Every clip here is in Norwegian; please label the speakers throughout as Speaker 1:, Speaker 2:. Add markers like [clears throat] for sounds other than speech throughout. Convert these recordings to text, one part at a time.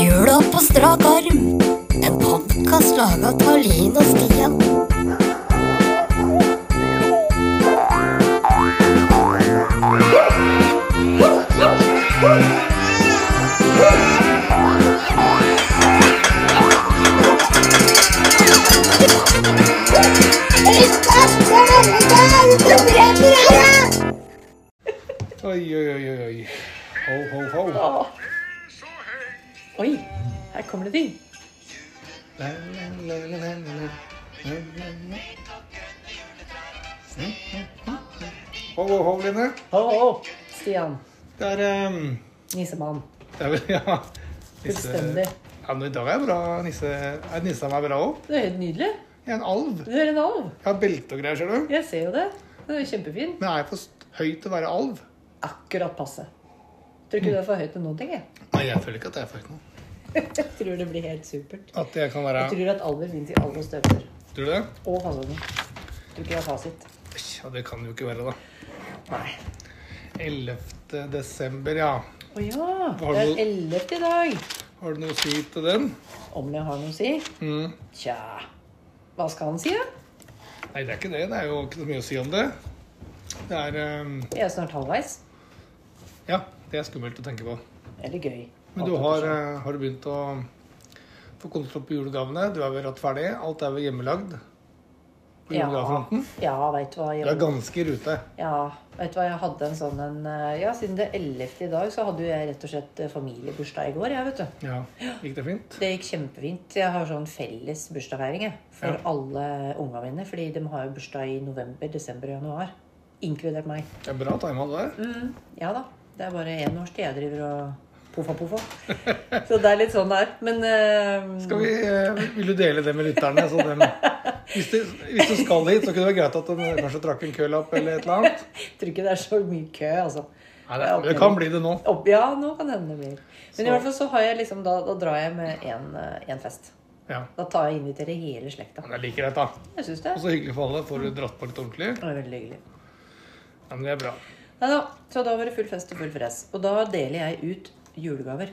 Speaker 1: Jula på strak arm. En podkast laga av Linn og Stian.
Speaker 2: Oi, oi, oi, oi, oi. Ho, ho, ho.
Speaker 3: Åh. Oi, her kommer det ting.
Speaker 2: La, la, la, la, la, la. La, la, la. Ho, ho, ho, Line.
Speaker 3: Ho, ho. Stian,
Speaker 2: Det er ehm,
Speaker 3: nissemann.
Speaker 2: Det er vel, ja Nisse-
Speaker 3: Fullstendig.
Speaker 2: Ja, men I dag er jeg bra. Nisse, er nissa meg bra òg?
Speaker 3: Du er helt nydelig.
Speaker 2: Jeg er en alv.
Speaker 3: Du er en alv.
Speaker 2: Jeg har belte og greier, ser du.
Speaker 3: Jeg ser jo det. Du er jo kjempefin.
Speaker 2: Men er jeg for st- høy til å være alv?
Speaker 3: Akkurat passe. Tror ikke du er for høy til noen ting, jeg. [laughs]
Speaker 2: Nei, jeg føler ikke at jeg er for høy til noe.
Speaker 3: Jeg tror det blir helt supert.
Speaker 2: At jeg kan være
Speaker 3: Jeg tror at alver finnes i alle størrelser.
Speaker 2: Tror du det?
Speaker 3: Og fasonger. Tror ikke jeg har fasit.
Speaker 2: Ja, det kan jo ikke være, da.
Speaker 3: Nei.
Speaker 2: 11. desember, ja.
Speaker 3: Å ja.
Speaker 2: Har
Speaker 3: Det er
Speaker 2: du-
Speaker 3: 11. i dag.
Speaker 2: Har du noe å si til den?
Speaker 3: Om det har noe å si?
Speaker 2: Mm.
Speaker 3: Tja Hva skal han si, da?
Speaker 2: Nei, det er ikke det. Det er jo ikke så mye å si om det. Det er ehm,
Speaker 3: Jeg er snart halvveis.
Speaker 2: Ja, det er skummelt å tenke på.
Speaker 3: Eller gøy.
Speaker 2: Men du har, eh, har du begynt å få kontroll på julegavene? Du er vel rett ferdig? Alt er vel hjemmelagd? På
Speaker 3: Ja.
Speaker 2: julegavefronten?
Speaker 3: Ja, veit du hva.
Speaker 2: Du er ganske i rute.
Speaker 3: Ja, vet du hva, jeg hadde en sånn en eh, Ja, siden det er 11. i dag, så hadde jo jeg rett og slett eh, familiebursdag i går, jeg, vet du.
Speaker 2: Ja. Gikk det fint?
Speaker 3: Det gikk kjempefint. Jeg har sånn felles bursdagsfeiring, jeg. For
Speaker 2: Ja.
Speaker 3: alle unga mine. Fordi de har jo bursdag i november, desember og januar. Inkludert meg.
Speaker 2: Det er bra time av det der.
Speaker 3: Mm, ja da. Det er bare én års tid jeg driver og poffa poffa. Så det er litt sånn der. Men eh,
Speaker 2: Skal vi, eh, vil du dele det med lytterne? Så dem, hvis, du, hvis du skal hit, så kunne det vært greit at den kanskje trakk en kølapp eller et eller annet.
Speaker 3: [laughs] jeg tror ikke det er så mye kø, altså.
Speaker 2: Nei, det, det kan bli det nå.
Speaker 3: Opp, ja, nå kan det hende det blir. Men
Speaker 2: Så-
Speaker 3: i hvert fall så har jeg liksom Da, da drar jeg med én fest.
Speaker 2: Ja.
Speaker 3: Da tar jeg og inviterer hele slekta.
Speaker 2: Men det er like greit, da.
Speaker 3: Jeg syns det.
Speaker 2: Og så hyggelig for alle. Får du dratt på litt ordentlig.
Speaker 3: Det var veldig hyggelig.
Speaker 2: Ja, men det er bra.
Speaker 3: Neida, Så da var det full fest og full fres. Og da deler jeg ut julegaver.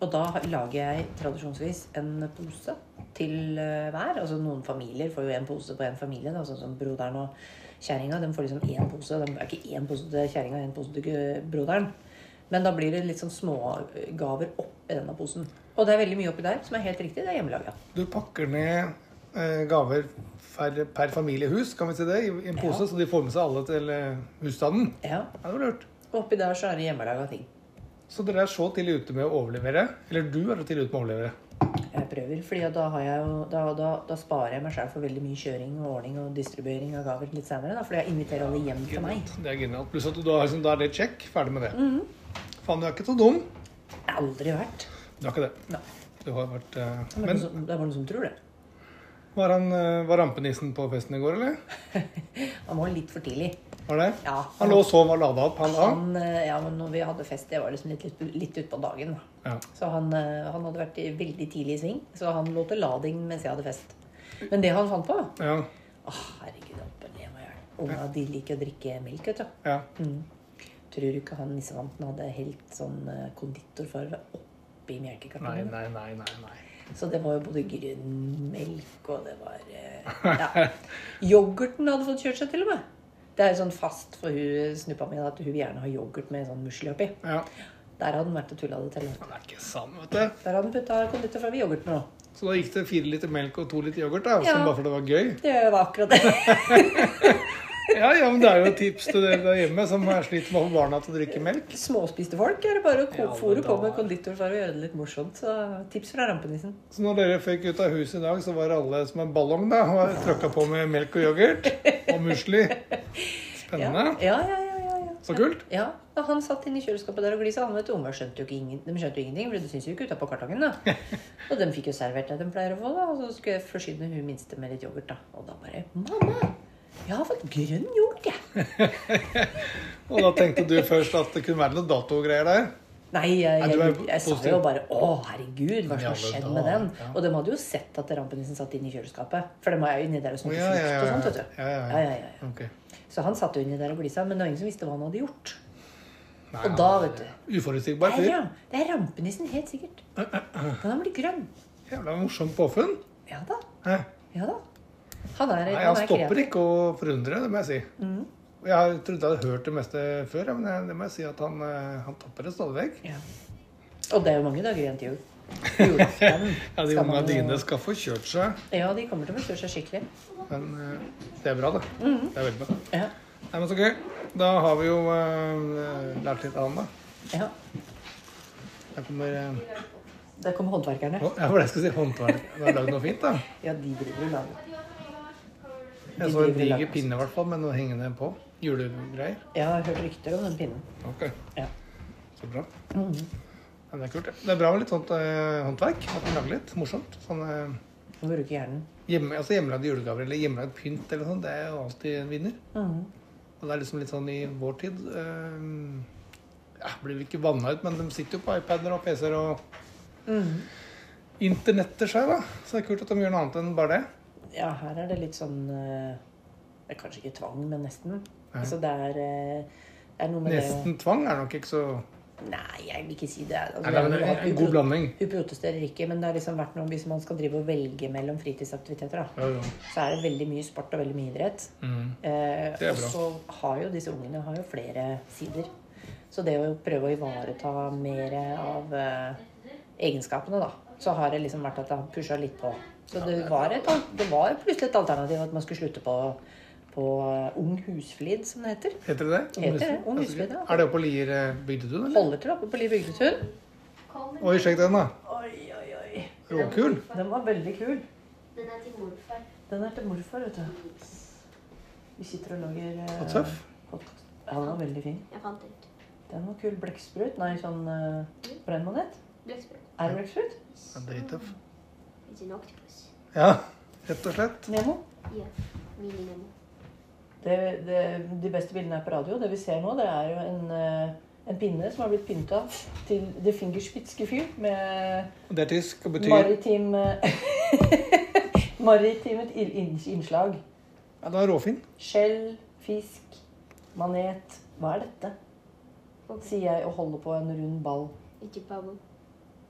Speaker 3: Og da har- lager jeg tradisjonsvis en pose til eh, hver. Altså noen familier får jo en pose på en familie. Da, sånn som broderen og kjerringa. De får liksom én pose. Det er ikke én pose til kjerringa, én pose til eh, broderen. Men da blir det litt sånn smågaver oppi denne posen. Og det er veldig mye oppi der som er helt riktig. Det er hjemmelaga.
Speaker 2: Du pakker ned eh, gaver per, per familiehus, kan vi si det, i i en pose,
Speaker 3: Ja.
Speaker 2: så de får med seg alle til eh, husstanden.
Speaker 3: Ja.
Speaker 2: Ja, det var lurt.
Speaker 3: Og oppi der så er det hjemmelaga ting.
Speaker 2: Så dere er så tidlig ute med å overlevere? Eller du er så tidlig ute med å overlevere?
Speaker 3: Jeg prøver, fordi at da, har jeg jo, da, da, da sparer jeg meg selv for veldig mye kjøring og ordning og distribuering av gaver litt senere. Da, fordi jeg inviterer alle hjem til meg.
Speaker 2: Det er genialt. Pluss at du da, liksom, da er det check. Ferdig med det.
Speaker 3: Mhm.
Speaker 2: Faen, du er ikke så dum.
Speaker 3: Jeg har aldri vært.
Speaker 2: Du er ikke det.
Speaker 3: Nei.
Speaker 2: Du har vært eh,
Speaker 3: Det er bare
Speaker 2: Men
Speaker 3: noen som- det er bare noen som tror det.
Speaker 2: var, han, eh, var rampenissen på festen i går, eller?
Speaker 3: Han var litt for tidlig.
Speaker 2: Var det?
Speaker 3: Ja.
Speaker 2: Han lå og sov og lada opp, han da?
Speaker 3: Han, eh, ja, men når vi hadde fest, det var liksom litt, litt, litt utpå dagen. da.
Speaker 2: Ja.
Speaker 3: Så han, eh, han hadde vært i- veldig tidlig i sving, så han lå til lading mens jeg hadde fest. Men det han fant på
Speaker 2: Ja.
Speaker 3: Å, herregud, oppe, le meg i hjel. Unga de liker å drikke melk, vet du.
Speaker 2: ja.
Speaker 3: Mm. Tror du ikke han nissevanten hadde helt sånn eh, konditorfarve oppi
Speaker 2: Nei,
Speaker 3: melkekartongen?
Speaker 2: nei, nei, nei. nei.
Speaker 3: Så det var jo både grønn melk, og det var eh,
Speaker 2: [laughs]
Speaker 3: ja. Yoghurten hadde fått kjørt seg til og med. Det er jo sånn fast for hun snuppa mi at hun vil gjerne ha yoghurt med sånn musli oppi.
Speaker 2: Ja.
Speaker 3: Der hadde han vært og tulla det til.
Speaker 2: Men det er ikke sant, vet du.
Speaker 3: Der hadde han putta konditorfarve i yoghurten òg.
Speaker 2: Så da gikk det fire liter melk og to liter yoghurt, da, som
Speaker 3: Ja.
Speaker 2: bare for det var gøy.
Speaker 3: Det var akkurat
Speaker 2: [laughs]
Speaker 3: det.
Speaker 2: Ja, ja, men Det er jo et tips til dere der hjemme som er sliter med å få barna til å drikke melk.
Speaker 3: Småspiste folk er det bare å
Speaker 2: Ja,
Speaker 3: ko-
Speaker 2: men
Speaker 3: fôre på
Speaker 2: da-
Speaker 3: med konditorfarve og gjøre det litt morsomt. Så tips fra rampenissen.
Speaker 2: Så når dere fikk ut av huset i dag, så var alle som en ballong da, og tråkka på med melk og yoghurt. Og musli.
Speaker 3: Ja,
Speaker 2: Spennende.
Speaker 3: ja, ja, ja, ja, ja.
Speaker 2: Så kult.
Speaker 3: Ja, da Han satt inne i kjøleskapet der og glisa. Han vet, du, unger skjønte jo ikke ingen, de skjønte jo ingenting, for de syntes jo ikke utapå kartongen. da.
Speaker 2: [laughs]
Speaker 3: Og de fikk jo servert det de pleier å få. da, Og så skulle jeg forsyne hun minste med litt yoghurt. da. Og da bare 'Mamma, jeg har fått grønn yoghurt, jeg'.
Speaker 2: Og da tenkte du først at det kunne være noen datogreier der.
Speaker 3: Nei, jeg,
Speaker 2: Nei,
Speaker 3: jeg,
Speaker 2: du er
Speaker 3: jeg, sa
Speaker 2: positiv.
Speaker 3: jo bare 'Å, herregud, hva
Speaker 2: Ja,
Speaker 3: som har
Speaker 2: men
Speaker 3: skjedd
Speaker 2: da-
Speaker 3: med den?'
Speaker 2: ja.
Speaker 3: Og de hadde jo sett at rampenissen satt inne i kjøleskapet. For de er jo inni der og
Speaker 2: Å,
Speaker 3: smaker
Speaker 2: ja, ja,
Speaker 3: frukt og sånt,
Speaker 2: ja.
Speaker 3: vet du.
Speaker 2: ja,
Speaker 3: Ja,
Speaker 2: ja,
Speaker 3: ja, ja.
Speaker 2: ja. Ok.
Speaker 3: Så han satt jo inni der og glisa, men det var ingen som visste hva han hadde gjort.
Speaker 2: Nei,
Speaker 3: Og da, vet du
Speaker 2: Uforutsigbar
Speaker 3: Det er,
Speaker 2: fyr.
Speaker 3: ram, det er rampenissen, helt
Speaker 2: [clears throat]
Speaker 3: sikkert. Men han blir grønn.
Speaker 2: Jævla morsomt påfunn.
Speaker 3: Ja da.
Speaker 2: Hæ?
Speaker 3: Ja da. Han er,
Speaker 2: Nei,
Speaker 3: han
Speaker 2: han
Speaker 3: er
Speaker 2: stopper
Speaker 3: kreativ.
Speaker 2: ikke å forundre, det må jeg si. Og Jeg har- trodde jeg hadde hørt det meste før, ja, men jeg- det må jeg si at han, eh, han topper det stadig vekk.
Speaker 3: Ja. Og det er jo mange dager igjen til jul. Julaften.
Speaker 2: [laughs] Ja, de
Speaker 3: skal man
Speaker 2: unga
Speaker 3: jo-
Speaker 2: dine skal få kjørt seg,
Speaker 3: Ja, de kommer til å forstyrre seg skikkelig.
Speaker 2: men eh, det er bra, det. Det er veldig bra.
Speaker 3: Ja.
Speaker 2: Nei, men så gøy. Da har vi jo eh, lært litt av han, da.
Speaker 3: ja.
Speaker 2: Her kommer eh,
Speaker 3: Der kommer håndverkerne.
Speaker 2: å, Ja, for jeg skal si håndverk. Du har lagd noe fint, da.
Speaker 3: Ja, de driver og lager.
Speaker 2: Jeg så en diger pinne, i hvert fall, med noe hengende på. Julegreier.
Speaker 3: Ja, jeg har hørt rykter om den pinnen.
Speaker 2: Ok,
Speaker 3: Ja.
Speaker 2: så bra. Ja, det er kult. det. Det er bra med litt sånt eh, håndverk. At man lager litt morsomt. Sånn eh,
Speaker 3: Må bruke hjernen.
Speaker 2: hjemme, altså hjemmelagde julegaver eller hjemmelagd pynt eller sånn, det er jo alltid en vinner.
Speaker 3: Mhm.
Speaker 2: Og det er liksom litt sånn i vår tid eh, ja, Blir vel ikke vanna ut, men de sitter jo på iPader og PC-er og
Speaker 3: Mm.
Speaker 2: internetter seg, da. Så det er kult at de gjør noe annet enn bare det.
Speaker 3: Ja, her er det litt sånn eh, Det er kanskje ikke tvang, men nesten.
Speaker 2: Ja.
Speaker 3: Altså, det er, eh, det er noe med det
Speaker 2: Nesten tvang er nok ikke så
Speaker 3: å Nei, jeg vil ikke si det. Altså,
Speaker 2: Nei, det
Speaker 3: det er
Speaker 2: er
Speaker 3: noe
Speaker 2: en,
Speaker 3: at
Speaker 2: en
Speaker 3: vi
Speaker 2: god
Speaker 3: pro-
Speaker 2: blanding.
Speaker 3: Vi protesterer ikke, men det har liksom vært noe hvis man skal drive og velge mellom fritidsaktiviteter, da.
Speaker 2: Ja, ja.
Speaker 3: Så er det veldig mye sport og veldig mye idrett.
Speaker 2: Mm.
Speaker 3: Eh,
Speaker 2: Det er
Speaker 3: og
Speaker 2: bra.
Speaker 3: så har jo disse ungene har jo flere sider. Så det å prøve å ivareta mer av eh, egenskapene, da, så har det liksom vært at det har pusha litt på. Så det var, et, al- det var plutselig et alternativ at man skulle slutte på, på eh, Ung husflid, som det heter.
Speaker 2: Heter det det?
Speaker 3: Heter det, Ung Husflid, ja.
Speaker 2: Er det oppe på Lier eh, bygdetun, eller?
Speaker 3: Holder til oppe på Liv Bygdetun.
Speaker 2: Oi, sjekk den, da.
Speaker 3: Oi, oi, oi.
Speaker 2: Råkul.
Speaker 3: Den var veldig kul.
Speaker 1: Den er til morfar.
Speaker 3: Den er til morfar, vet du. Vi sitter og lager eh,
Speaker 2: Og tøff.
Speaker 3: hot- Ja, den var veldig fin.
Speaker 1: Jeg fant ut.
Speaker 3: Den var kul. Blekksprut. Nei, sånn uh, brennmanet.
Speaker 1: Blekksprut.
Speaker 3: Er det blekksprut?
Speaker 2: Ja, Drittøff.
Speaker 1: It's an octopus.
Speaker 2: Ja, rett og slett.
Speaker 3: Nemo.
Speaker 1: Ja. Mini Nemo.
Speaker 3: Det, det, de beste bildene er på radio. Det vi ser nå, det er jo en, eh, en pinne som har blitt pynta til The Fingerspitz Gefühl med
Speaker 2: Og Det er tysk og betyr
Speaker 3: maritim eh, [laughs] maritimet il- in- innslag.
Speaker 2: Ja, det er råfin.
Speaker 3: Skjell, fisk, manet. Hva er dette? Sier jeg og holder på en rund ball.
Speaker 1: It's a bubble.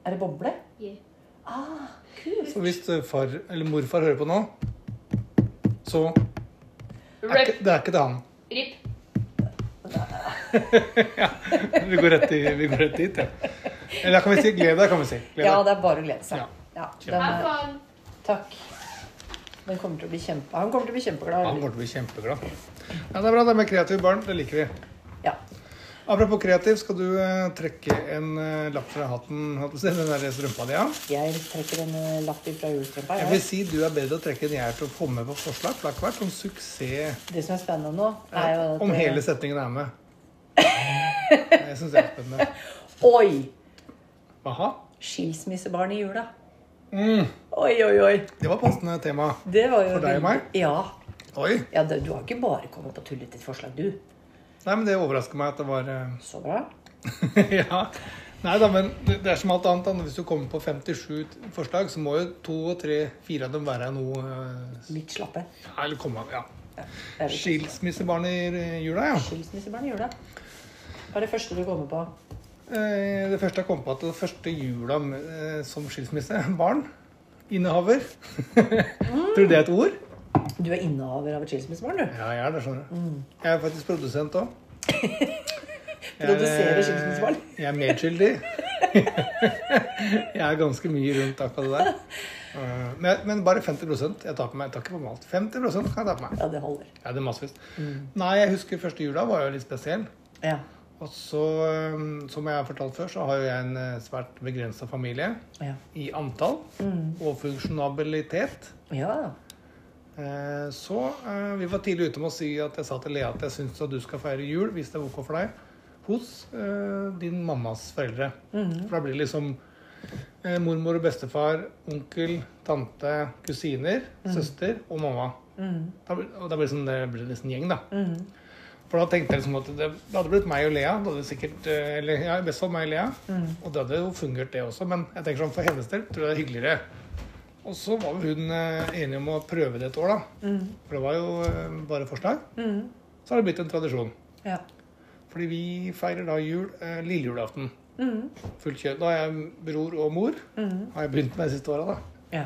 Speaker 3: Er det boble?
Speaker 1: Yeah.
Speaker 3: Ah, kult.
Speaker 2: Så hvis eh, far eller morfar hører på nå, så er ikke, Det er ikke til han.
Speaker 1: Rip.
Speaker 2: Vi går rett, i, vi går rett dit, ja. Eller da kan vi si gled deg, kan vi si. Gled
Speaker 3: Ja,
Speaker 2: deg.
Speaker 3: det er bare å glede seg.
Speaker 2: Ja.
Speaker 3: Ja, den er, takk. Den kommer til å bli kjempe, han kommer til å bli
Speaker 2: Han
Speaker 3: kjempeglad.
Speaker 2: kommer til å bli kjempeglad. Ja, det er bra. Det er med kreative barn. Det liker vi.
Speaker 3: Ja.
Speaker 2: Apropos kreativ, skal du eh, trekke en eh, lapp fra hatten? holdt jeg på å si, Den der strømpa di, ja?
Speaker 3: Jeg trekker en eh, lapp fra julestrømpa.
Speaker 2: Jeg
Speaker 3: jeg.
Speaker 2: vil si du er bedre å trekke enn jeg er til å komme med på forslag. For det har ikke vært sånn suksess
Speaker 3: Det som er spennende nå, er jo at eh,
Speaker 2: om hele setningen er
Speaker 3: [laughs]
Speaker 2: med. Det syns jeg er spennende.
Speaker 3: Oi!
Speaker 2: Aha.
Speaker 3: Skilsmissebarn i jula.
Speaker 2: Mm,
Speaker 3: Oi, oi, oi.
Speaker 2: det var passende tema.
Speaker 3: Det var jo
Speaker 2: For deg og meg?
Speaker 3: Ja.
Speaker 2: Oi.
Speaker 3: ja det, du har ikke bare kommet på tullete forslag, du.
Speaker 2: Nei, men det overrasker meg at det var eh,
Speaker 3: Så bra.
Speaker 2: [laughs] Ja. Nei da, men det det er som alt annet. da. Hvis du kommer på 57 forslag, så må jo to og tre, fire av dem være noe eh,
Speaker 3: Litt slappe.
Speaker 2: Ja, eller komme av. Ja.
Speaker 3: Det er litt-
Speaker 2: Skilsmissebarn i eh, jula, ja.
Speaker 3: Skilsmissebarn i jula. Hva er det første du kommer på?
Speaker 2: Eh, Det første jeg kom på at det første jula eh, som skilsmisse, barn, innehaver. [laughs] Tror du det er et ord?
Speaker 3: Du er innehaver av et skilsmissebarn, du.
Speaker 2: Ja, jeg er det, skjønner du. Jeg er faktisk produsent òg.
Speaker 3: Produserer skilsmissebarn.
Speaker 2: Jeg er medskyldig. [laughs] jeg er ganske mye rundt akkurat det der. Eh, Men, men bare 50 Jeg tar på meg, jeg tar ikke på meg alt. 50 kan jeg ta på meg.
Speaker 3: [laughs] Ja, det holder.
Speaker 2: Ja, det er massevis. Nei, jeg husker første jula var jo litt spesiell.
Speaker 3: Ja.
Speaker 2: Og så, eh, som jeg har fortalt før, så har jo jeg en eh, svært begrensa familie.
Speaker 3: Ja.
Speaker 2: i antall og funksjonabilitet.
Speaker 3: ja.
Speaker 2: Eh, Så eh, vi var tidlig ute med å si at jeg sa til Lea at jeg syns at du skal feire jul, hvis det er ok for deg, hos eh, din mammas foreldre. For da blir det liksom eh, mormor og bestefar, onkel, tante, kusiner, søster og mamma. Da, blir- og da blir det, sånn, det blir liksom en gjeng, da. For da tenkte jeg liksom at det, det hadde blitt meg og Lea. Det hadde sikkert, eh, eller ja, i best fall meg og Lea. Og det hadde jo fungert, det også. Men jeg tenker sånn, for hennes del tror jeg det er hyggeligere. Og så var vel hun eh, enig om å prøve det et år, da. For det var jo eh, bare forslag. Så har det blitt en tradisjon.
Speaker 3: ja.
Speaker 2: For Fordi vi feirer da jul eh, lille julaften. Fullt kjør. Da har jeg bror og mor.
Speaker 3: Mm-hmm.
Speaker 2: Har jeg begynt med de siste åra, da.
Speaker 3: Ja.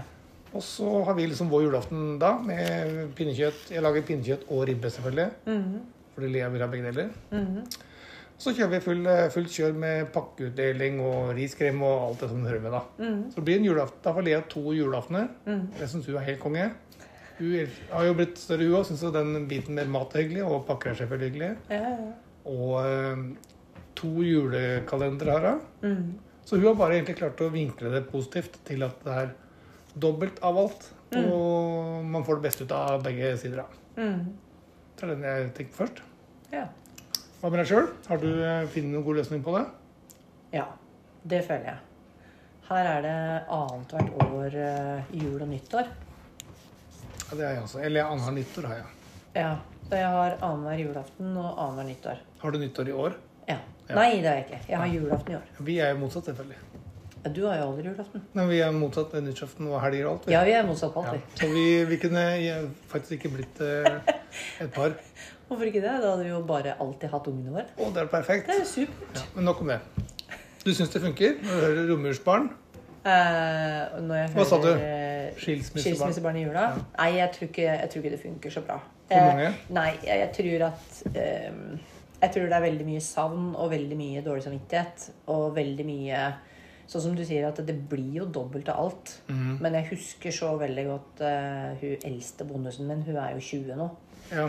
Speaker 2: Og så har vi liksom vår julaften da med pinnekjøtt. Jeg lager pinnekjøtt og ribbe, selvfølgelig. Fordi Lea vil ha begge deler.
Speaker 3: Mm-hmm.
Speaker 2: Så kjører vi full, eh, fullt kjør med pakkeutdeling og riskrem og alt det som hører med. Da Så det blir en julaften. Da får Lea to julaftener. Jeg syns hun er helt konge. Hun el- har jo blitt større, hun òg. Syns jo den biten med mat er hyggelig, og pakker er selvfølgelig hyggelig.
Speaker 3: Ja, ja.
Speaker 2: Og eh, to julekalendere har hun.
Speaker 3: Mm-hmm.
Speaker 2: Så hun har bare egentlig klart å vinkle det positivt til at det er dobbelt av alt. Og man får det beste ut av begge sider. da.
Speaker 3: Mm.
Speaker 2: Det er den jeg tenker først.
Speaker 3: ja.
Speaker 2: Hva med deg sjøl? Har du eh, funnet noen god løsning på det?
Speaker 3: Ja, det føler jeg. Her er det annethvert år eh, jul og nyttår.
Speaker 2: Ja, det har jeg også. Eller annet nyttår har jeg.
Speaker 3: Ja, så jeg har annenhver julaften og annenhver nyttår.
Speaker 2: Har du nyttår i år?
Speaker 3: Ja.
Speaker 2: Ja.
Speaker 3: Nei, det har jeg ikke. Jeg har julaften i år.
Speaker 2: Vi er jo motsatt, selvfølgelig.
Speaker 3: Ja, du har jo aldri julaften.
Speaker 2: Nei, vi er motsatt ved nyttårsaften og helger og alt. vi.
Speaker 3: Ja, vi er motsatt på
Speaker 2: Ja.
Speaker 3: alt, vi.
Speaker 2: Så vi, vi kunne eh, faktisk ikke blitt eh, et
Speaker 3: [laughs]
Speaker 2: par.
Speaker 3: Hvorfor ikke det? Da hadde vi jo bare alltid hatt ungene våre.
Speaker 2: Å, det er perfekt.
Speaker 3: Det er jo supert.
Speaker 2: Men nok om det. Du syns det funker når du hører romjulsbarn?
Speaker 3: Eh, og når jeg
Speaker 2: Hva sa du?
Speaker 3: eh,
Speaker 2: Skilsmissebarn.
Speaker 3: Skilsmissebarn i jula? Nei, jeg tror, ikke, jeg tror ikke det funker så bra.
Speaker 2: For mange?
Speaker 3: Eh, nei, jeg, jeg tror at eh, Jeg tror det er veldig mye savn og veldig mye dårlig samvittighet. Og veldig mye Sånn som du sier, at det blir jo dobbelt av alt.
Speaker 2: Mhm.
Speaker 3: Men jeg husker så veldig godt eh, hun eldste bondusen min. Hun er jo 20 nå.
Speaker 2: Ja.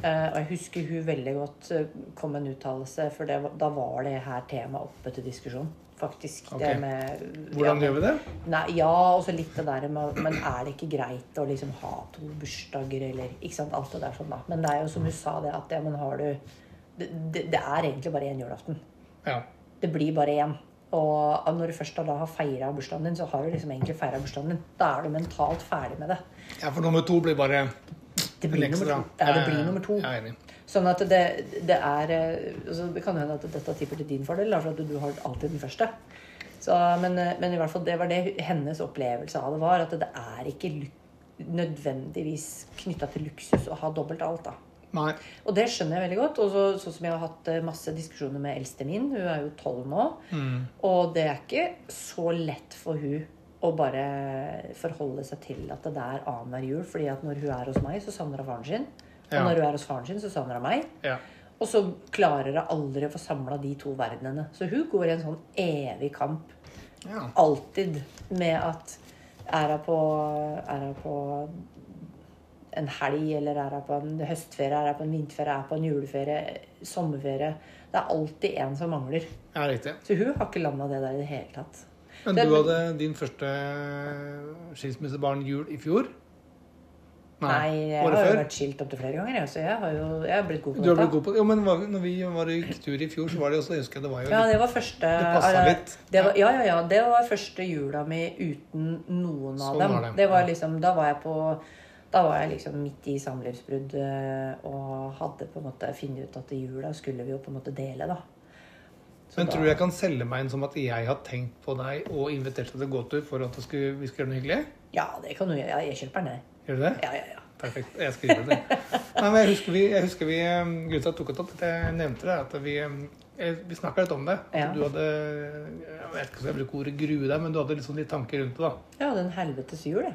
Speaker 3: Eh, og jeg husker hun veldig godt eh, kom med en uttalelse, for det, var- da var det her temaet oppe til diskusjon. Faktisk.
Speaker 2: Ok.
Speaker 3: Det med
Speaker 2: Hvordan
Speaker 3: ja,
Speaker 2: gjør vi det?
Speaker 3: Nei, ja, og så litt det der med Men er det ikke greit å liksom ha to bursdager, eller ikke sant, alt det der sånn, da. Men det er jo som du sa, det at ja, men har du Det, det, det er egentlig bare én julaften.
Speaker 2: Ja.
Speaker 3: Det blir bare én. Og når du først da har feira bursdagen din, så har du liksom egentlig feira bursdagen din. Da er du mentalt ferdig med det.
Speaker 2: ja, for nummer to blir bare
Speaker 3: Det
Speaker 2: en
Speaker 3: blir nummer
Speaker 2: ekstra. Eh,
Speaker 3: to. Ja, det blir nummer to.
Speaker 2: Jeg er enig.
Speaker 3: Sånn at det, det er eh, altså Det kan hende at dette tipper til din fordel, da, for at du, du har alltid den første. Så, men, eh, men i hvert fall det var det hennes opplevelse av det var. At det er ikke lu- nødvendigvis knytta til luksus å ha dobbelt alt. da.
Speaker 2: Nei.
Speaker 3: Og det skjønner jeg veldig godt. Og så- sånn som jeg har hatt eh, masse diskusjoner med eldste min, hun er jo tolv nå, og det er ikke så lett for hun å bare forholde seg til at det er annenhver jul. fordi at når hun er hos meg, så savner hun faren sin. Og
Speaker 2: Ja.
Speaker 3: når hun er hos faren sin, så savner hun meg.
Speaker 2: Ja.
Speaker 3: Og så klarer hun aldri å få samla de to verdenene. Så hun går i en sånn evig kamp.
Speaker 2: ja.
Speaker 3: Alltid med at er hun på, er hun på en helg, eller er hun på en høstferie, er hun på en vinterferie, er hun på en juleferie, sommerferie Det er alltid en som mangler.
Speaker 2: Ja, riktig.
Speaker 3: Så hun har ikke landa det der i det hele tatt.
Speaker 2: Men
Speaker 3: Det-
Speaker 2: du hadde din første skilsmissebarn jul i fjor?
Speaker 3: Nei, jeg har
Speaker 2: året
Speaker 3: jo
Speaker 2: før?
Speaker 3: vært skilt opptil flere ganger, jeg, så jeg har jo jeg har blitt god på
Speaker 2: Du har blitt god på det. Jo, men var, når vi var i tur i fjor, så var det også, jeg husker jeg det var jo
Speaker 3: Ja,
Speaker 2: litt
Speaker 3: det var første eh,
Speaker 2: Det passet litt.
Speaker 3: Det var, ja, ja, ja. Det var første jula mi uten noen av
Speaker 2: Sånn
Speaker 3: dem.
Speaker 2: var
Speaker 3: det.
Speaker 2: det.
Speaker 3: var liksom, da var jeg på da var jeg liksom midt i samlivsbrudd eh, og hadde på en måte funnet ut at i jula skulle vi jo på en måte dele, da. Så
Speaker 2: Men
Speaker 3: da-
Speaker 2: tror du jeg kan selge meg inn som at jeg har tenkt på deg og invitert deg til gåtur for at det skulle, vi skulle gjøre noe hyggelig?
Speaker 3: Ja, det kan du gjøre. Ja, jeg kjøper den, jeg.
Speaker 2: Gjør du det?
Speaker 3: Ja, ja, ja.
Speaker 2: Perfekt. Jeg skriver det. Nei, men jeg husker vi, jeg husker vi eh, Grunnen til at jeg tok det opp, at jeg nevnte det, at vi, eh, vi snakka litt om det. At
Speaker 3: Ja.
Speaker 2: du hadde Jeg vet ikke om jeg bruker ordet grue deg, men du hadde liksom litt tanker rundt det. da.
Speaker 3: Ja, den helvetes jul, jeg.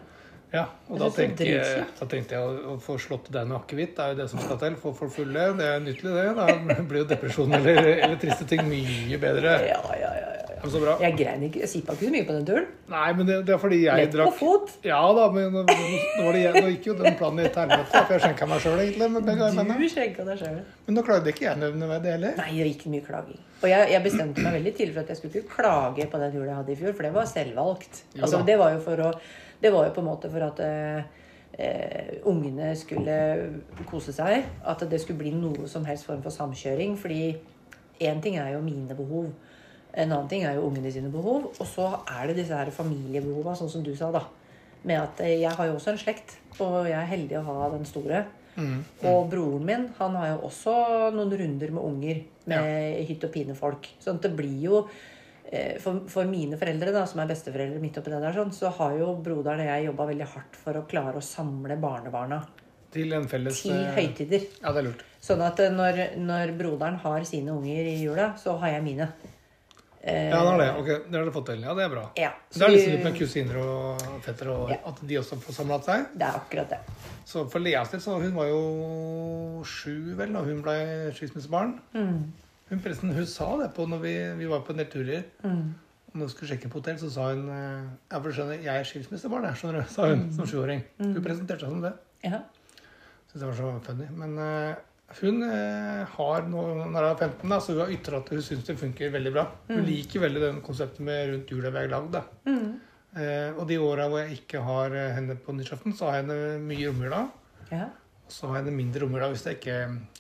Speaker 2: Ja, og
Speaker 3: Jeg
Speaker 2: da
Speaker 3: synes det er
Speaker 2: tenkte, jeg,
Speaker 3: dritslitt.
Speaker 2: da tenkte jeg å, å få slått deg med akevitt. Det er jo det som skal til. Få folk fulle. Det er nyttig, det. Da [laughs] blir jo depresjon eller, eller triste ting mye bedre.
Speaker 3: Ja, ja, ja. ja.
Speaker 2: Ja, men så bra.
Speaker 3: Jeg grein ikke. Jeg sippa ikke så mye på den turen.
Speaker 2: Nei, men det, det er fordi jeg
Speaker 3: Lett på
Speaker 2: drakk
Speaker 3: fot.
Speaker 2: Ja da, men nå, nå, var det jeg, nå gikk jo den planen i et helvete. For jeg skjenka meg sjøl, egentlig. Med begge armene.
Speaker 3: Du skjenka deg sjøl.
Speaker 2: Men da klarte ikke jeg nevneverdig heller.
Speaker 3: Nei, det var ikke mye klaging. Og jeg, jeg bestemte meg veldig tidlig for at jeg skulle ikke klage på den jula jeg hadde i fjor, for det var selvvalgt.
Speaker 2: Jo
Speaker 3: Altså,
Speaker 2: da.
Speaker 3: det, var jo for å, det var jo på en måte for at eh, eh, ungene skulle kose seg. At det skulle bli noe som helst form for samkjøring. Fordi én ting er jo mine behov, en annen ting er jo ungene sine behov. Og så er det disse her familiebehova, sånn som du sa, da. Med at eh, jeg har jo også en slekt, og jeg er heldig å ha den store.
Speaker 2: Mm,
Speaker 3: Og broren min han har jo også noen runder med unger, med hytt og pine folk. Sånn at det blir jo eh, for, for mine foreldre, da, som er besteforeldre midt oppi det der, sånn, så har jo broderen og jeg jobba veldig hardt for å klare å samle barnebarna
Speaker 2: Til en felles
Speaker 3: ti
Speaker 2: eh,
Speaker 3: høytider.
Speaker 2: Ja, det er lurt.
Speaker 3: Sånn at eh, når, når broderen har sine unger i jula, så har jeg mine.
Speaker 2: Ja, det er det. Ok, det har dere fått til. Ja, det er bra.
Speaker 3: Ja,
Speaker 2: Så
Speaker 3: så
Speaker 2: det er
Speaker 3: vi-
Speaker 2: liksom litt med kusiner og fettere og
Speaker 3: Ja.
Speaker 2: at de også får samlet seg.
Speaker 3: Det er akkurat det.
Speaker 2: Så for Leas del, så hun var jo sju vel da hun ble skilsmissebarn. Hun forresten, hun sa det på når vi, vi var på en del turer. Og Når hun skulle sjekke på hotell, så sa hun eh, Ja, for du skjønner, jeg er skilsmissebarn, jeg, skjønner du, sa hun som sjuåring. Hun presenterte seg som det.
Speaker 3: Ja.
Speaker 2: Syns det var så funny. Men eh, hun eh, har nå, når hun er 15, da, så hun har ytra at hun syns det funker veldig bra. Hun liker veldig den konseptet med rundt jula vi har lagd. da.
Speaker 3: Mm.
Speaker 2: Eh, og de åra hvor jeg ikke har eh, henne på nyttårsaften, så har jeg henne mye i romjula.
Speaker 3: ja.
Speaker 2: Og så har jeg det mindre romjula hvis jeg ikke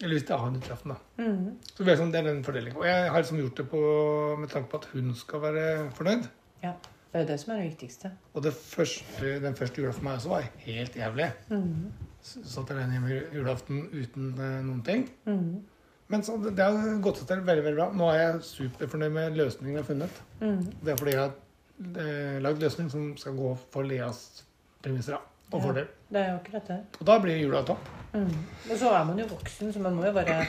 Speaker 2: Eller hvis jeg har nyttårsaften, da.
Speaker 3: Mm.
Speaker 2: Så det er, sånn, det er den fordelingen. Og jeg har liksom gjort det på, med tanke på at hun skal være fornøyd.
Speaker 3: ja. Det er jo det som er det viktigste.
Speaker 2: Og det første, den første jula for meg også var helt jævlig.
Speaker 3: Mm.
Speaker 2: S- Satt alene hjemme julaften uten eh, noen ting.
Speaker 3: Mm.
Speaker 2: Men så, det det har gått seg til veldig veldig bra. Nå er jeg superfornøyd med løsningen jeg har funnet.
Speaker 3: Mm.
Speaker 2: Det er fordi jeg har eh, lagd løsning som skal gå for Leas premisser da, og
Speaker 3: Ja.
Speaker 2: fordel.
Speaker 3: Det er jo akkurat det.
Speaker 2: Og da blir jula topp.
Speaker 3: Og så er man jo voksen, så man må jo bare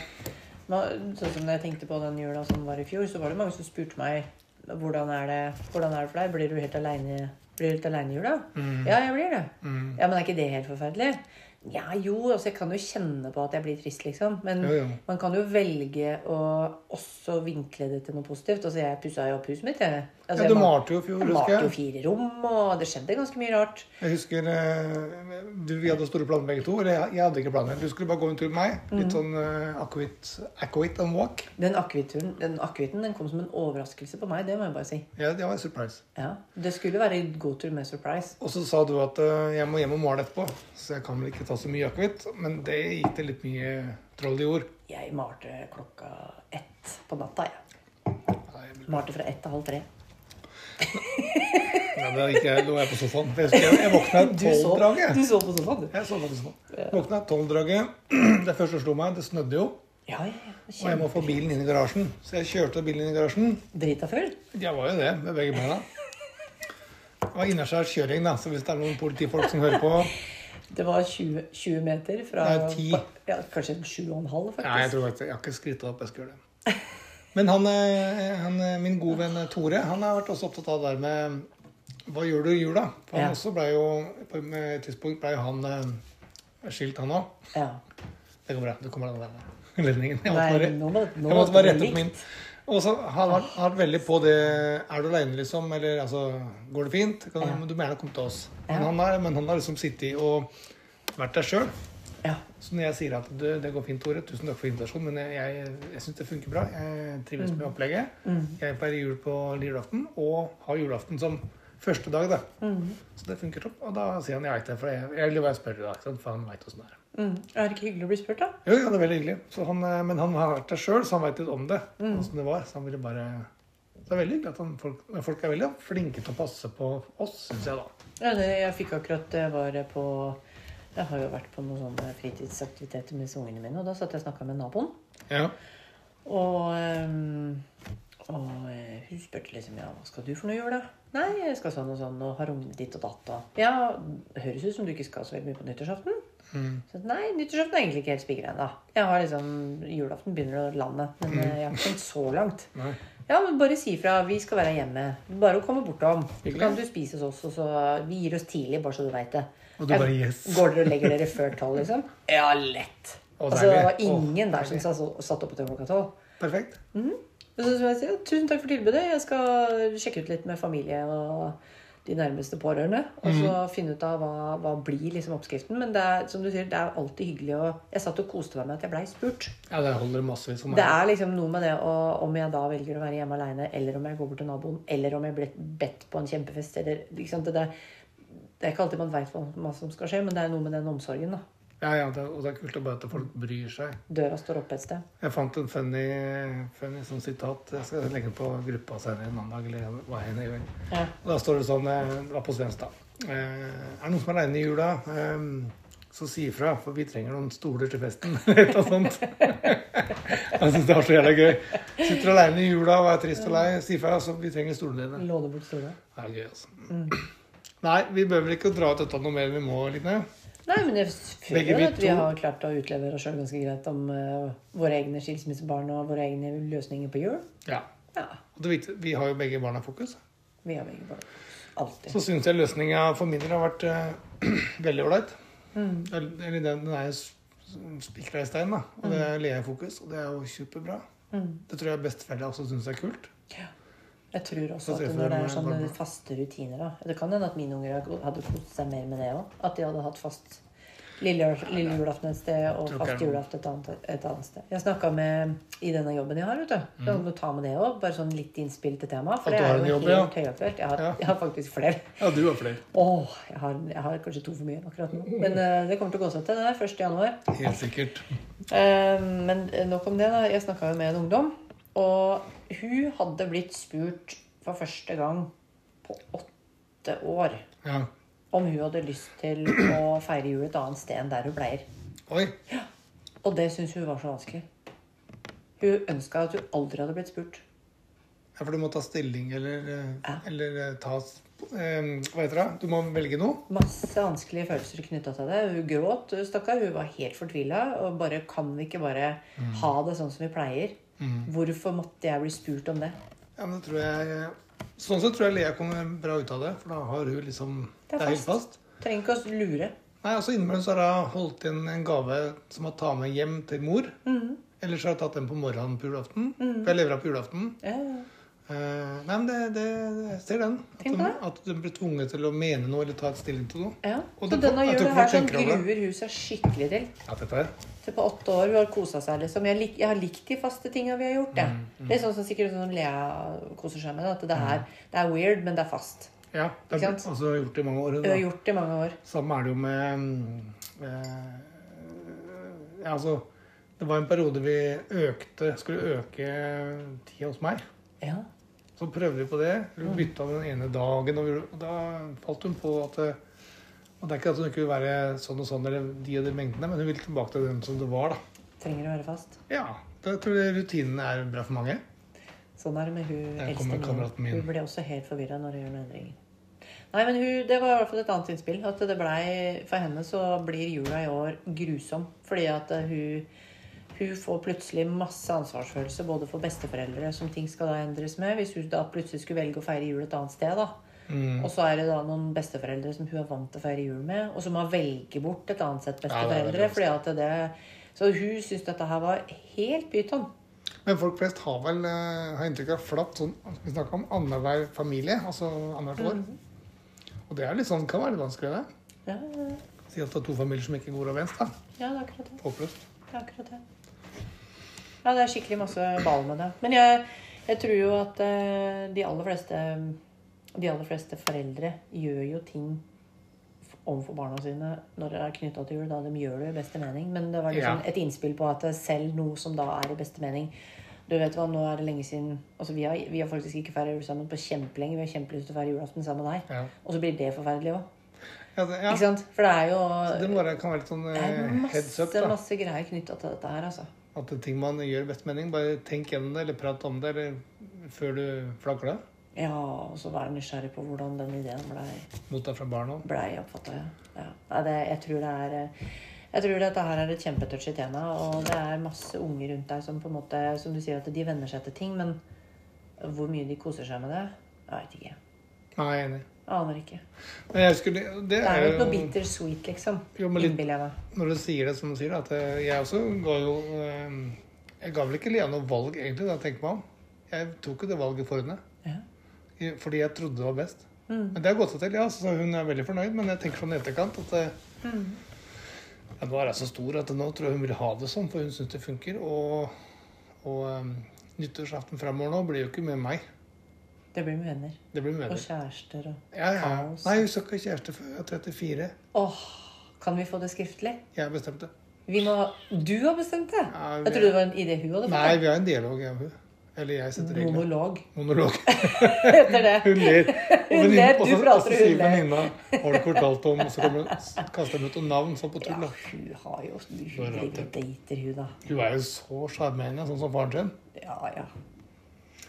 Speaker 3: man, Sånn som jeg tenkte på den jula som var i fjor, så var det mange som spurte meg hvordan er det, hvordan er det for deg. Blir du helt aleine? Blir du helt aleine i jula?
Speaker 2: Mm.
Speaker 3: Ja, jeg blir det. Ja, Men er ikke det helt forferdelig? Ja, jo, altså jeg kan jo kjenne på at jeg blir trist, liksom. Men
Speaker 2: Jo, jo.
Speaker 3: man kan jo velge å også vinkle det til noe positivt. Altså jeg pussa jo opp huset mitt, jeg. Altså,
Speaker 2: Ja, du
Speaker 3: jeg mal-
Speaker 2: malte jo i fjor,
Speaker 3: jeg
Speaker 2: husker
Speaker 3: malte jo
Speaker 2: jeg.
Speaker 3: fire rom, og det skjedde ganske mye rart.
Speaker 2: Jeg husker eh, du, Vi hadde store planer begge to. Eller jeg, jeg hadde ikke planer. Du skulle bare gå en tur med meg. Litt sånn eh, aquit, aquit and walk.
Speaker 3: Den akevitten den, akevitten, den kom som en overraskelse på meg, det må jeg bare si.
Speaker 2: Ja, det var en surprise.
Speaker 3: Ja, Det skulle være en god tur med surprise.
Speaker 2: Og så sa du at eh, jeg må hjem og male etterpå, så jeg kan vel ikke ta så mye akevitt. Men det gikk det litt mye troll i ord.
Speaker 3: Jeg malte klokka ett på natta. jeg.
Speaker 2: Nei, jeg ble-
Speaker 3: Malte fra ett til halv tre.
Speaker 2: Nei, det gikk jeg, lå jeg på sofaen. For Jeg, husker jeg, jeg våkna i
Speaker 3: Du så, du
Speaker 2: tolvdraget.
Speaker 3: så på sofaen, du.
Speaker 2: Jeg så faktisk sånn. Våkna i tolvdraget. [clears throat] Det første som slo meg, det snødde jo.
Speaker 3: Ja, ja, ja.
Speaker 2: Og jeg må få bilen inn i garasjen. Så jeg kjørte bilen inn i garasjen.
Speaker 3: Drita full?
Speaker 2: Jeg var jo det, med begge beina. Det var innaskjærs kjøring, da, så hvis det er noen politifolk som hører på
Speaker 3: Det var 20, 20 meter fra
Speaker 2: Nei, 10.
Speaker 3: Ja, Kanskje 7,5, faktisk.
Speaker 2: Nei, jeg tror faktisk Jeg har ikke skrytt av opp, jeg skal gjøre det. Men han, eh, han, eh, min gode venn Tore han har vært også opptatt av det der med Hva gjør du i jula? For han
Speaker 3: Ja.
Speaker 2: også ble jo På et eh, tidspunkt ble jo han eh, skilt, han òg.
Speaker 3: Ja.
Speaker 2: Det går bra. Det kommer den der ledningen. Jeg måtte
Speaker 3: Nei,
Speaker 2: bare,
Speaker 3: nå må- nå
Speaker 2: jeg måtte bare
Speaker 3: måtte
Speaker 2: rette
Speaker 3: det
Speaker 2: opp
Speaker 3: bli
Speaker 2: min. Og så har han vært, har vært veldig på det Er du aleine, liksom? Eller altså Går det fint? Kan,
Speaker 3: Ja.
Speaker 2: men Du må gjerne komme til oss.
Speaker 3: Ja.
Speaker 2: Men, han har, men han har liksom sittet og vært der sjøl.
Speaker 3: ja.
Speaker 2: Så når jeg sier at du, det går fint, Tore, tusen takk for invitasjonen, men jeg, jeg, jeg syns det funker bra. Jeg trives med
Speaker 3: Mm.
Speaker 2: opplegget. Jeg pleier jul på lille julaften og har julaften som første dag, da.
Speaker 3: Mm.
Speaker 2: Så det funker topp. Og da sier han jeg veit det, for jeg, jeg vil bare spørre deg, ikke sant? for han veit åssen det er.
Speaker 3: Mm. Er det ikke hyggelig å bli spurt, da?
Speaker 2: Jo, ja, det er veldig hyggelig. Så han, eh, men han har vært der sjøl, så han veit litt om det. Hvordan det var. Så han ville bare Så det er veldig hyggelig at han, folk, men folk er veldig flinke til å passe på oss, syns jeg, da.
Speaker 3: Ja, det, jeg fikk akkurat Jeg var på Jeg har jo vært på noen sånne fritidsaktiviteter med disse ungene mine, og da satt jeg og snakka med naboen.
Speaker 2: Ja.
Speaker 3: Og, ehm, og eh, hun spurte liksom Ja, hva skal du for noe gjøre, da? Nei, jeg skal sånn og sånn, og har ungene ditt og datt og Ja, høres ut som du ikke skal så veldig mye på nyttårsaften. Så nei, nyttårsaften er egentlig ikke helt spikra ennå. Jeg har liksom Julaften begynner å lande, men eh, jeg har ikke kommet så langt.
Speaker 2: Nei.
Speaker 3: Ja, men bare si fra. Vi skal være hjemme. Bare å komme bortom. Så
Speaker 2: Hyggelig.
Speaker 3: kan du spise hos oss, og så Vi gir oss tidlig, bare så du veit det.
Speaker 2: Og du
Speaker 3: Jeg-
Speaker 2: bare, yes.
Speaker 3: Går dere og legger dere før tolv,
Speaker 2: [laughs]
Speaker 3: liksom? Ja, lett.
Speaker 2: Å,
Speaker 3: altså, det var
Speaker 2: deilig.
Speaker 3: ingen
Speaker 2: Å,
Speaker 3: der som
Speaker 2: deilig.
Speaker 3: sa- satt oppe til klokka tolv.
Speaker 2: Perfekt.
Speaker 3: Så som jeg sier, tusen takk for tilbudet. Jeg skal sjekke ut litt med familie og de nærmeste pårørende. Og så
Speaker 2: Mhm.
Speaker 3: finne ut av hva, hva blir liksom oppskriften. Men det er, som du sier, det er alltid hyggelig å Jeg satt og koste meg med at jeg blei spurt.
Speaker 2: Ja, det holder massevis for meg.
Speaker 3: Det er liksom noe med det og om jeg da velger å være hjemme aleine, eller om jeg går bort til naboen, eller om jeg blir bedt på en kjempefest, eller ikke sant, det, det, det er ikke alltid man veit hva, hva som skal skje, men det er noe med den omsorgen, da.
Speaker 2: Ja, ja, det, og det er kult å bare at folk bryr seg.
Speaker 3: Døra står oppe et sted.
Speaker 2: Jeg fant en funny, funny sånn sitat. Jeg skal legge den på gruppa senere en annen dag. eller hva jeg gjør.
Speaker 3: Ja.
Speaker 2: Og Da står det sånn eh, Det var på svensk, da. Eh, Er det noen som er aleine i jula, eh, så si ifra, for vi trenger noen stoler til festen. [laughs] Eller et eller annet sånt. Jeg syns det var så jævla gøy. Sitter du aleine i jula og er trist og lei, si ifra, så vi trenger stolene dine.
Speaker 3: Låne bort stolen.
Speaker 2: Det er gøy, altså. Nei, vi behøver ikke å dra ut dette noe mer enn vi må, Line.
Speaker 3: Nei, men jeg føler
Speaker 2: Begge
Speaker 3: jo
Speaker 2: vi
Speaker 3: at vi
Speaker 2: to-
Speaker 3: har klart å utlevere oss sjøl ganske greit om eh, våre egne skilsmissebarn og våre egne løsninger på jul.
Speaker 2: Ja.
Speaker 3: Ja.
Speaker 2: Og det viktige, vi har jo begge barna i fokus.
Speaker 3: Vi har begge barn. Alltid.
Speaker 2: Så syns jeg løsninga for min del har vært eh, [clears throat] veldig ålreit. Eller eller den, den er jo s- spikra i stein, da. Og det er Lea i fokus, og det er jo superbra. Det tror jeg besteforeldre også syns er kult.
Speaker 3: Ja. Jeg tror
Speaker 2: Så
Speaker 3: også
Speaker 2: ser
Speaker 3: at
Speaker 2: jeg for
Speaker 3: når det
Speaker 2: meg
Speaker 3: er sånne
Speaker 2: barna.
Speaker 3: faste rutiner da. Det kan hende at mine unger hadde- hadde kost seg mer med det òg. At de hadde hatt fast lille, lille julaften et sted og
Speaker 2: Tror ikke
Speaker 3: fast
Speaker 2: jeg-
Speaker 3: julaften et annet, et annet sted. Jeg snakka med i denne jobben jeg har, vet du. Så må du ta med det òg. Bare sånn litt innspill til temaet. For
Speaker 2: Mhm. At du
Speaker 3: det
Speaker 2: har
Speaker 3: er
Speaker 2: en
Speaker 3: jo
Speaker 2: jobb,
Speaker 3: helt høyaktuelt. Jeg, har-
Speaker 2: Ja.
Speaker 3: jeg har faktisk flere.
Speaker 2: Ja, du har flere.
Speaker 3: Åh, jeg har, jeg har kanskje to for mye akkurat
Speaker 2: [laughs]
Speaker 3: nå. Men eh, det kommer til å gå seg til. Det er 1. januar.
Speaker 2: Helt sikkert.
Speaker 3: Eh, men nok om det. da Jeg snakka jo med en ungdom. Og hun hadde blitt spurt for første gang på åtte år
Speaker 2: Ja.
Speaker 3: om hun hadde lyst til å feire jul et annet sted enn der hun pleier.
Speaker 2: Oi.
Speaker 3: Og det syntes hun var så vanskelig. Hun ønska at hun aldri hadde blitt spurt.
Speaker 2: Ja, for du må ta stilling eller, eh,
Speaker 3: Ja.
Speaker 2: eller eh, ta eh, Hva heter det? Du må velge noe.
Speaker 3: Masse vanskelige følelser knytta til det. Hun gråt, hun stakkar. Hun var helt fortvila. Og bare Kan vi ikke bare ha det sånn som vi pleier? Hvorfor måtte jeg bli spurt om det?
Speaker 2: Ja, men det tror jeg eh, Sånn sett tror jeg Lea kommer bra ut av det, for da har hun liksom Det er helt fast.
Speaker 3: Trenger ikke å lure.
Speaker 2: Nei, altså Innimellom så har hun holdt inn en gave som hun tar med hjem til mor.
Speaker 3: Mhm.
Speaker 2: Eller så har hun tatt den på morgenen på julaften. For jeg lever av på julaften.
Speaker 3: Ja,
Speaker 2: Eh, nei, men det, det, jeg ser den. At
Speaker 3: Tenk
Speaker 2: de,
Speaker 3: på det.
Speaker 2: at de blir tvunget til å mene noe eller ta et stilling til noe.
Speaker 3: ja.
Speaker 2: Og
Speaker 3: Så
Speaker 2: det-
Speaker 3: denne
Speaker 2: jeg tror
Speaker 3: jula
Speaker 2: folk
Speaker 3: her sånn
Speaker 2: tenker over det.
Speaker 3: gruer hun seg skikkelig til.
Speaker 2: Ja, dette er
Speaker 3: Til på åtte år, hun har kosa seg. liksom. Jeg, lik, jeg har likt de faste tinga vi har gjort. jeg.
Speaker 2: Mm,
Speaker 3: Det er sånn som sikkert sånn Lea koser seg med det. At det er, det er weird, men det er fast.
Speaker 2: Ja, det er
Speaker 3: Ikke sant?
Speaker 2: altså, hun har gjort det i mange år. hun,
Speaker 3: Hun
Speaker 2: da.
Speaker 3: har gjort det i mange år.
Speaker 2: Samme er det jo med mm, eh, Ja, altså Det var en periode vi økte skulle øke tida hos meg.
Speaker 3: Ja.
Speaker 2: Så prøvde vi på det. Vi bytta den ene dagen, og, vi, gjorde- og da falt hun på at eh, og Det er ikke at hun ikke vil være sånn og sånn, eller de og de mengdene, men hun vil tilbake til den som det var. da.
Speaker 3: Trenger å være fast.
Speaker 2: Ja, da tror jeg rutinene er bra for mange.
Speaker 3: Sånn er det med hun
Speaker 2: Der
Speaker 3: eldste
Speaker 2: kommer kameraten min.
Speaker 3: Hun ble også helt forvirra når hun gjør noen endringer. Nei, men hun, Det var i hvert fall et annet innspill. At det blei, For henne så blir jula i år grusom. Fordi at eh, hun, hun får plutselig masse ansvarsfølelse både for besteforeldre, som ting skal da endres med, hvis hun da plutselig skulle velge å feire jul et annet sted. da.
Speaker 2: Mm.
Speaker 3: Og så er det da noen besteforeldre som hun er vant til å feire jul med, og som må velge bort et annet sett
Speaker 2: Ja, det er veldig
Speaker 3: besteforeldre. fordi at det, så hun syntes dette her var helt pyton.
Speaker 2: Men folk flest har vel eh, har inntrykk av flatt sånn Vi snakker om annenhver familie, altså annethvert år.
Speaker 3: Mm.
Speaker 2: Og det er litt sånn, kan være litt vanskelig, det.
Speaker 3: Ja, ja, ja.
Speaker 2: Si at det er to familier som ikke går overens, da.
Speaker 3: ja, det er akkurat det.
Speaker 2: Håpløst.
Speaker 3: Det er akkurat det. Ja, det er skikkelig masse ball med det. Men jeg, jeg tror jo at eh, de aller fleste De aller fleste foreldre gjør jo ting f- overfor barna sine når det er knytta til jul. Da de gjør det i beste mening. Men det var liksom
Speaker 2: Ja.
Speaker 3: et innspill på at selv noe som da er i beste mening Du vet hva, nå er det lenge siden Altså, vi har, vi har faktisk ikke feira jul sammen på kjempelenge. Vi har kjempelyst til å feire julaften sammen med deg.
Speaker 2: Ja.
Speaker 3: Og så blir det forferdelig òg.
Speaker 2: Ja, det, ja.
Speaker 3: Ikke sant? For det er jo
Speaker 2: det må være, kan være litt sånn
Speaker 3: det er
Speaker 2: eh, heads up,
Speaker 3: masse,
Speaker 2: da.
Speaker 3: masse greier knytta til dette her, altså.
Speaker 2: At det er ting man gjør i best mening. Bare tenk gjennom det, eller prat om det, eller før du flagger det.
Speaker 3: Ja, og så være nysgjerrig på hvordan den ideen blei
Speaker 2: Motta fra barna.
Speaker 3: ble oppfatta. Ja. Ja. Nei, det, jeg tror det er eh, jeg tror dette her er et kjempetouchy tema, og det er masse unge rundt deg som på en måte, som du sier at de venner seg til ting, men hvor mye de koser seg med det, jeg veit ikke.
Speaker 2: Nei, jeg er enig.
Speaker 3: Aner ikke.
Speaker 2: Men jeg skulle, det
Speaker 3: Det
Speaker 2: er
Speaker 3: er jo ikke noe
Speaker 2: jo
Speaker 3: bitter sweet, liksom.
Speaker 2: Eh, Jo, men litt-
Speaker 3: Innbiller jeg meg.
Speaker 2: Når du sier det som du sier, at eh, jeg også ga jo eh, Jeg ga vel ikke Lea noe valg, egentlig, da jeg tenker meg om. Jeg tok jo det valget for henne.
Speaker 3: Ja. Mm.
Speaker 2: I- Fordi jeg trodde det var best. Men det har gått seg til, ja. Så hun er veldig fornøyd. Men jeg tenker sånn i etterkant at eh,
Speaker 3: Mm.
Speaker 2: ja, Nå er jeg så stor at nå tror jeg hun vil ha det sånn, for hun syns det funker. Og, og eh, nyttårsaften framover nå blir jo ikke med meg.
Speaker 3: Det blir med venner.
Speaker 2: Det blir med
Speaker 3: Og
Speaker 2: dere.
Speaker 3: kjærester og
Speaker 2: Ja, ja.
Speaker 3: kaos.
Speaker 2: Nei, hun skal ikke ha kjæreste før jeg er 34.
Speaker 3: Åh, kan vi få det skriftlig?
Speaker 2: Jeg bestemte.
Speaker 3: Vi må Du har bestemt det?
Speaker 2: Ja, vi-
Speaker 3: Jeg trodde det var en idé hun hadde
Speaker 2: Nei,
Speaker 3: fått.
Speaker 2: vi har en dialog, jeg og hun. Eller jeg setter
Speaker 3: da.
Speaker 2: reglene.
Speaker 3: Monolog
Speaker 2: Monolog.
Speaker 3: heter det.
Speaker 2: Hun
Speaker 3: [laughs]
Speaker 2: ler. Og
Speaker 3: Hun
Speaker 2: venninna-
Speaker 3: ler, du
Speaker 2: og så-
Speaker 3: prater,
Speaker 2: og så sier
Speaker 3: hun ler.
Speaker 2: venninna Har du ikke fortalt om Og så kommer,
Speaker 3: [laughs]
Speaker 2: hun- kaster hun ut noen navn sånn på tull.
Speaker 3: Ja,
Speaker 2: da.
Speaker 3: hun har jo
Speaker 2: er
Speaker 3: Hun
Speaker 2: det
Speaker 3: driver og dater, hun, da.
Speaker 2: Hun er jo så sjarmerende, sånn som faren sin.
Speaker 3: Ja, ja.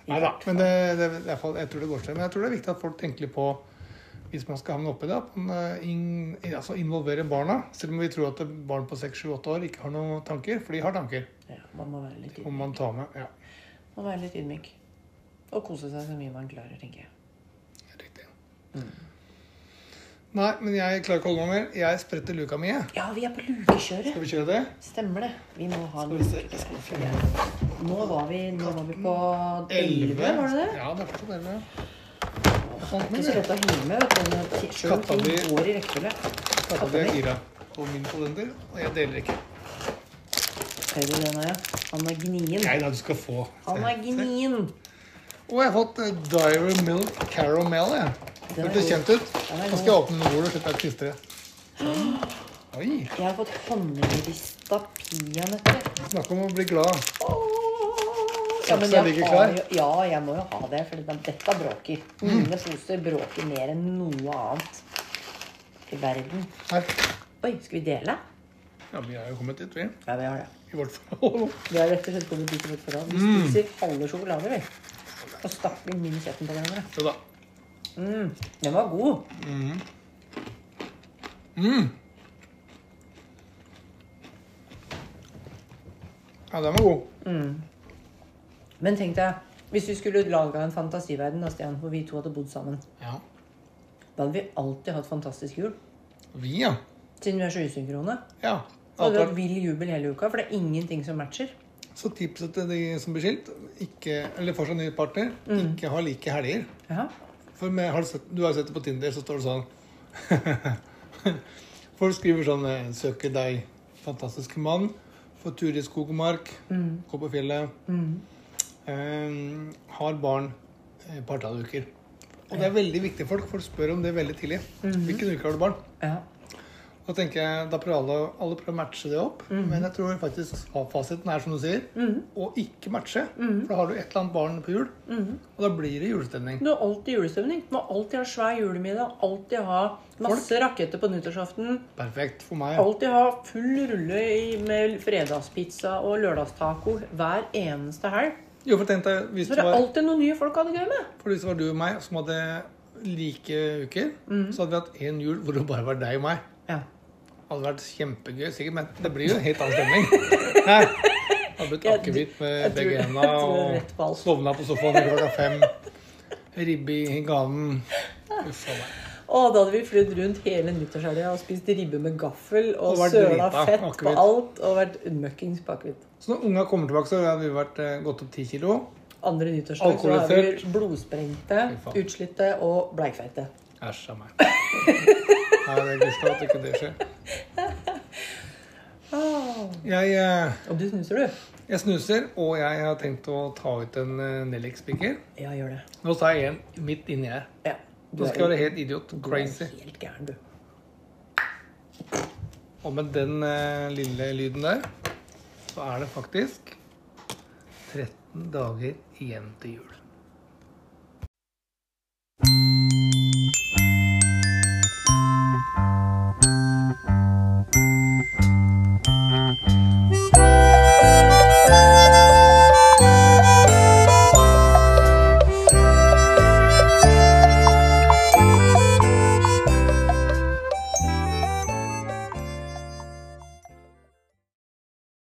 Speaker 2: Nei da. Men det, det, det, er i hvert fall- jeg tror det går seg. Men jeg tror det er viktig at folk tenker litt på hvis man skal havne oppi det, at man eh, in, altså involverer barna. Selv om vi tror at barn på 6-7-8 år ikke har noen tanker, for de har tanker.
Speaker 3: Ja, man må være litt
Speaker 2: Om
Speaker 3: ydmyk.
Speaker 2: man tar med. Ja,
Speaker 3: Må være litt ydmyk. Og kose seg så mye man klarer, tenker jeg.
Speaker 2: riktig.
Speaker 3: Mm.
Speaker 2: Nei, men jeg klarer ikke å holde meg mer. Jeg spretter luka mi. jeg.
Speaker 3: Ja, vi er på lukekjøret.
Speaker 2: Skal vi kjøre det?
Speaker 3: Stemmer det. Vi må ha en
Speaker 2: vi se.
Speaker 3: lukekjøret. Nå var vi, nå var vi på 11,
Speaker 2: 11?
Speaker 3: var det det?
Speaker 2: Ja, det er fortsatt Sånn, 11.
Speaker 3: Det er ikke så lett å henge med, vet du. når ti- Sjøl
Speaker 2: Katta
Speaker 3: ting
Speaker 2: mi-
Speaker 3: går i rekkefølge.
Speaker 2: Katta di er gira på min kalender, og jeg deler ikke.
Speaker 3: Ser du den her? Han er gnien.
Speaker 2: Nei da, du skal få. Se.
Speaker 3: Han er gnien.
Speaker 2: Og jeg har fått eh, Dairy Milk Caramel. jeg.
Speaker 3: Den
Speaker 2: Det
Speaker 3: er
Speaker 2: ser
Speaker 3: god.
Speaker 2: kjent ut.
Speaker 3: Den er
Speaker 2: Nå skal jeg åpne den bordet og slippe å kviste det. Oi!
Speaker 3: Jeg har fått håndrista peanøtter.
Speaker 2: Snakk om å bli glad.
Speaker 3: Ja, men
Speaker 2: Saksa
Speaker 3: jeg
Speaker 2: ligger
Speaker 3: har
Speaker 2: klar.
Speaker 3: jo- Ja, jeg må jo ha det, for det- dette bråker. Mine poser bråker mer enn noe annet i verden.
Speaker 2: Her.
Speaker 3: Oi, skal vi dele?
Speaker 2: Ja, vi er jo kommet dit, vi.
Speaker 3: Ja, vi har det. Mm.
Speaker 2: I vårt [laughs] forhold.
Speaker 3: Vi har rett og slett kommet dit i vårt forhold. Vi spiser halve sjokolader, vi. Og stapper inn i kjeften på hverandre.
Speaker 2: Så da.
Speaker 3: Mm. Den var god.
Speaker 2: Ja, den var god.
Speaker 3: Men tenk deg, hvis vi skulle laga en fantasiverden da, Stian, hvor vi to hadde bodd sammen,
Speaker 2: Ja.
Speaker 3: da hadde vi alltid hatt fantastisk jul.
Speaker 2: Vi, ja.
Speaker 3: Siden vi er så usynkrone.
Speaker 2: Ja.
Speaker 3: Og det
Speaker 2: Alt
Speaker 3: var
Speaker 2: er-
Speaker 3: vill jubel hele uka, for det er ingenting som matcher.
Speaker 2: Så tipset til de som blir skilt, ikke, eller får seg ny partner,
Speaker 3: Mm.
Speaker 2: ikke ha like helger.
Speaker 3: Ja.
Speaker 2: For med, har du, sett, du har jo sett det på Tinder, så står det sånn [laughs] Folk skriver sånn eh, 'Søker deg, fantastisk mann'. Få tur i skog og mark. Gå på fjellet. Eh, har barn eh, et par-tall uker. Og det er veldig viktig folk. Folk spør om det veldig tidlig. Hvilken uke har du barn?
Speaker 3: ja.
Speaker 2: Da tenker jeg, da prøver alle, alle prøver å matche det opp. Men jeg tror faktisk fasiten er som du sier, å ikke matche. For da har du et eller annet barn på jul, og da blir det julestemning.
Speaker 3: Du har alltid julestemning. Du må alltid ha svær julemiddag. Alltid ha masse raketter på nyttårsaften.
Speaker 2: Perfekt for meg.
Speaker 3: Alltid ha full rulle i- med fredagspizza og lørdagstaco hver eneste helg.
Speaker 2: Jo, for tenk deg, hvis
Speaker 3: Så
Speaker 2: det,
Speaker 3: det er
Speaker 2: var,
Speaker 3: alltid noen nye folk å ha det gøy med.
Speaker 2: for hvis det var du og meg som hadde like uker,
Speaker 3: Mhm.
Speaker 2: så hadde vi hatt én jul hvor det bare var deg og meg.
Speaker 3: Ja.
Speaker 2: Det hadde vært kjempegøy, sikkert, men det blir jo en helt annen
Speaker 3: [laughs]
Speaker 2: stemning. Hæ? Det hadde blitt
Speaker 3: Jeg-
Speaker 2: akevitt
Speaker 3: jeg
Speaker 2: med
Speaker 3: tror-
Speaker 2: begge
Speaker 3: jeg
Speaker 2: hendene
Speaker 3: tror det er rett på
Speaker 2: og
Speaker 3: alt.
Speaker 2: sovna på sofaen klokka fem. Ribbe i ganen. Uff a meg.
Speaker 3: Og da hadde vi flydd rundt hele nyttårshelga og spist ribbe med gaffel og,
Speaker 2: Og vært
Speaker 3: søla
Speaker 2: drita,
Speaker 3: fett på
Speaker 2: akevitt.
Speaker 3: alt og vært møkkings på akevitt.
Speaker 2: Så når unga kommer tilbake, så har vi vært, eh, gått opp ti kilo.
Speaker 3: Andre nyttårsdag så var
Speaker 2: Alkoholisert.
Speaker 3: vi blodsprengte,
Speaker 2: Fy faen.
Speaker 3: utslitte og bleikfeite.
Speaker 2: Æsj
Speaker 3: [laughs]
Speaker 2: a meg. Nei, det er gudskelov at ikke det skjer. Jeg eh,
Speaker 3: Og du snuser, du?
Speaker 2: Jeg snuser, og jeg har tenkt å ta ut en eh, nellikspiker.
Speaker 3: Ja, gjør det.
Speaker 2: Nå tar jeg en midt inni her.
Speaker 3: Ja.
Speaker 2: Du skal være helt idiot.
Speaker 3: du er
Speaker 2: Crazy.
Speaker 3: helt gæren, du.
Speaker 2: Og med den eh, lille lyden der, så er det faktisk 13 dager igjen til jul.